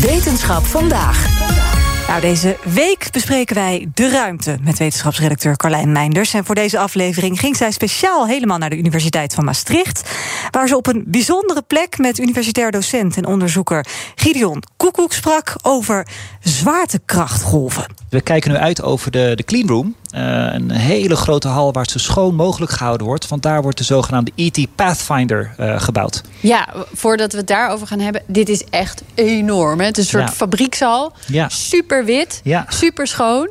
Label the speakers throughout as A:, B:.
A: Wetenschap vandaag. Nou, deze week bespreken wij de ruimte met wetenschapsredacteur Carlijn Meinders. En voor deze aflevering ging zij speciaal helemaal naar de Universiteit van Maastricht. Waar ze op een bijzondere plek met universitair docent en onderzoeker Gideon Koekoek sprak over zwaartekrachtgolven.
B: We kijken nu uit over de, de cleanroom. Uh, een hele grote hal waar het zo schoon mogelijk gehouden wordt. Want daar wordt de zogenaamde ET Pathfinder uh, gebouwd.
C: Ja, voordat we het daarover gaan hebben. Dit is echt enorm. Hè? Het is een soort
B: Ja.
C: fabriekshal.
B: Ja.
C: Super wit.
B: Ja.
C: Super schoon.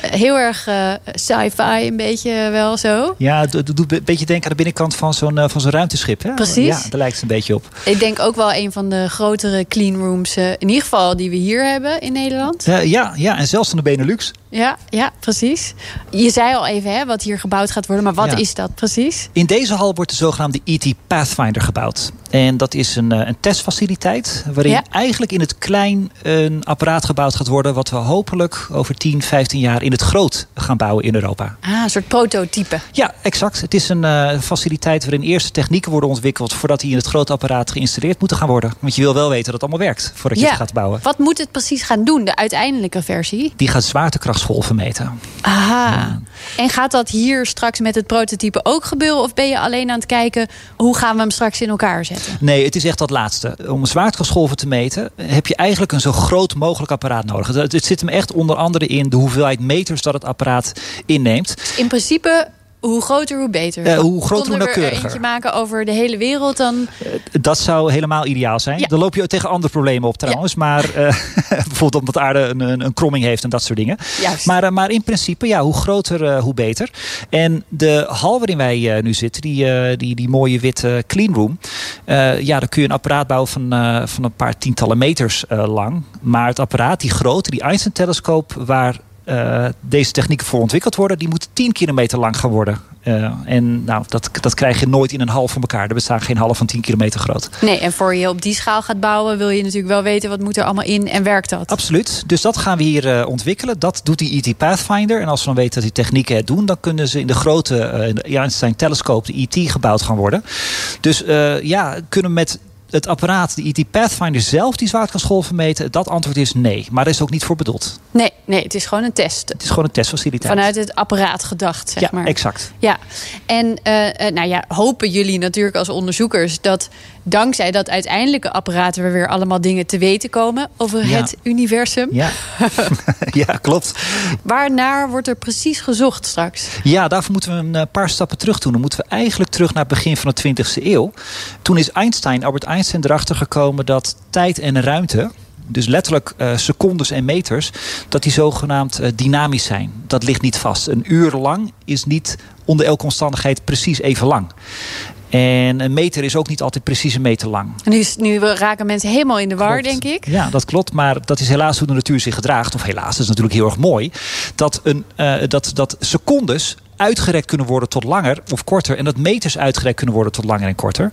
C: Heel erg eh, sci-fi een beetje wel zo.
B: Ja, het het doet een beetje denken aan de binnenkant van zo'n eh, van zo'n ruimteschip. Hè?
C: Precies.
B: Ja, daar lijkt het een beetje op.
C: Ik denk ook wel een van de grotere cleanrooms. eh, in ieder geval die we hier hebben in Nederland.
B: Eh, ja, ja, en zelfs van de Benelux.
C: Ja, ja, precies. Je zei al even hè, wat hier gebouwd gaat worden, maar wat
B: Ja.
C: is dat precies?
B: In deze hal wordt de zogenaamde ET Pathfinder gebouwd. En dat is een, eh, een testfaciliteit waarin
C: Ja.
B: eigenlijk in het klein een apparaat gebouwd gaat worden... wat we hopelijk over 10, 15 jaar in het groot gaan bouwen in Europa.
C: Ah, een soort prototype.
B: Ja, exact. Het is een eh, faciliteit waarin eerst de technieken worden ontwikkeld... voordat die in het grote apparaat geïnstalleerd moeten gaan worden. Want je wil wel weten dat het allemaal werkt voordat je
C: Ja.
B: het gaat bouwen.
C: Wat moet het precies gaan doen, de uiteindelijke versie?
B: Die gaat zwaartekrachtsgolven meten.
C: Aha. En gaat dat hier straks met het prototype ook gebeuren? Of ben je alleen aan het kijken hoe gaan we hem straks in elkaar zetten?
B: Nee, het is echt dat laatste. Om zwaartekrachtsgolven te meten heb je eigenlijk een zo groot mogelijk apparaat nodig. Het, het zit hem echt onder andere in de hoeveelheid meters dat het apparaat inneemt.
C: Dus in principe, hoe groter, hoe beter.
B: Eh, hoe groter, hoe
C: Konden we er
B: nauwkeuriger.
C: eentje maken over de hele wereld, dan
B: Dat zou helemaal ideaal zijn.
C: Ja.
B: Dan loop je ook tegen andere problemen op trouwens. Maar eh, bijvoorbeeld omdat de aarde een, een, een kromming heeft en dat soort dingen.
C: Juist.
B: Maar, eh, maar in principe, ja, hoe groter, eh, hoe beter. En de hal waarin wij eh, nu zitten, die, eh, die, die mooie witte cleanroom. eh, ja, daar kun je een apparaat bouwen van, eh, van een paar tientallen meters eh, lang. Maar het apparaat, die grote, die Einstein-telescoop, waar eh, deze technieken voor ontwikkeld worden, die moeten 10 kilometer lang gaan worden. Eh, en nou, dat, dat krijg je nooit in een hal van elkaar. Er bestaan geen hallen van 10 kilometer groot.
C: Nee, en voor je op die schaal gaat bouwen, wil je natuurlijk wel weten wat moet er allemaal in en werkt dat.
B: Absoluut. Dus dat gaan we hier eh, ontwikkelen. Dat doet die ET Pathfinder. En als we dan weten dat die technieken het doen, dan kunnen ze in de grote eh, in de Einstein-telescoop, de ET, gebouwd gaan worden. Dus eh, ja, kunnen we met het apparaat, de ET Pathfinder zelf, die zwaartekrachtsgolven meten? Dat antwoord is nee. Maar daar is ook niet voor bedoeld.
C: Nee, nee, het is gewoon een test.
B: Het is gewoon een testfaciliteit.
C: Vanuit het apparaat gedacht, zeg
B: ja,
C: maar.
B: exact.
C: Ja, en eh, eh, nou ja, hopen jullie natuurlijk als onderzoekers dat dankzij dat uiteindelijke apparaat we weer allemaal dingen te weten komen over
B: Ja.
C: het universum.
B: Ja. ja, klopt.
C: Waarnaar wordt er precies gezocht straks?
B: Ja, daarvoor moeten we een eh, paar stappen terug doen. Dan moeten we eigenlijk terug naar het begin van de 20e eeuw. Toen is Einstein, Albert Einstein, erachter gekomen dat tijd en ruimte. Dus letterlijk eh, secondes en meters, dat die zogenaamd eh, dynamisch zijn. Dat ligt niet vast. Een uur lang is niet onder elke omstandigheid precies even lang. En een meter is ook niet altijd precies een meter lang.
C: En Nu, is- nu raken mensen helemaal in de war,
B: Klopt.
C: denk ik.
B: Ja, dat klopt. Maar dat is helaas hoe de natuur zich gedraagt. Of helaas, dat is natuurlijk heel erg mooi. Dat, een, eh, dat, dat secondes uitgerekt kunnen worden tot langer of korter. En dat meters uitgerekt kunnen worden tot langer en korter.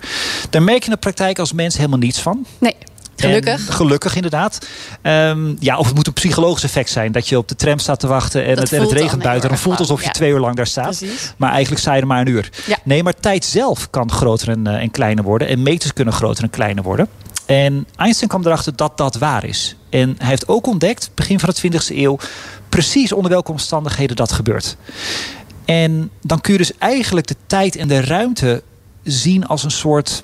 B: Daar merk je in de praktijk als mens helemaal niets van.
C: Nee,
B: En
C: gelukkig.
B: gelukkig, inderdaad. Ehm, ja, of het moet een psychologisch effect zijn. Dat je op de tram staat te wachten en,
C: Dat
B: het, en het
C: voelt dan
B: regent
C: heel
B: buiten. Dan
C: erg
B: voelt het alsof je
C: lang, ja.
B: twee uur lang daar staat.
C: Precies.
B: Maar eigenlijk sta je er maar een uur.
C: Ja.
B: Nee, maar tijd zelf kan groter en, eh, en kleiner worden. En meters kunnen groter en kleiner worden. En Einstein kwam erachter dat dat waar is. En hij heeft ook ontdekt, begin van de 20e eeuw, precies onder welke omstandigheden dat gebeurt. En dan kun je dus eigenlijk de tijd en de ruimte zien als een soort,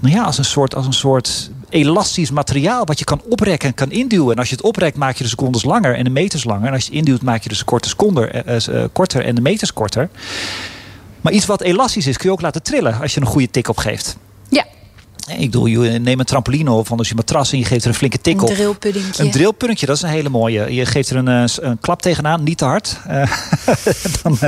B: nou ja, als een soort, als een soort elastisch materiaal wat je kan oprekken en kan induwen. En als je het oprekt, maak je de secondes langer en de meters langer. En als je het induwt, maak je de korte seconden eh, eh, eh, korter en de meters korter. Maar iets wat elastisch is, kun je ook laten trillen als je een goede tik op geeft.
C: Ja.
B: Ik bedoel, je neemt een trampoline of anders je matras en je geeft er een flinke tik
C: Een
B: op.
C: drillpuddingje.
B: Een drillpuntje, dat is een hele mooie. Je geeft er een, eh, s- een klap tegenaan, niet te hard. Eh, dan, eh,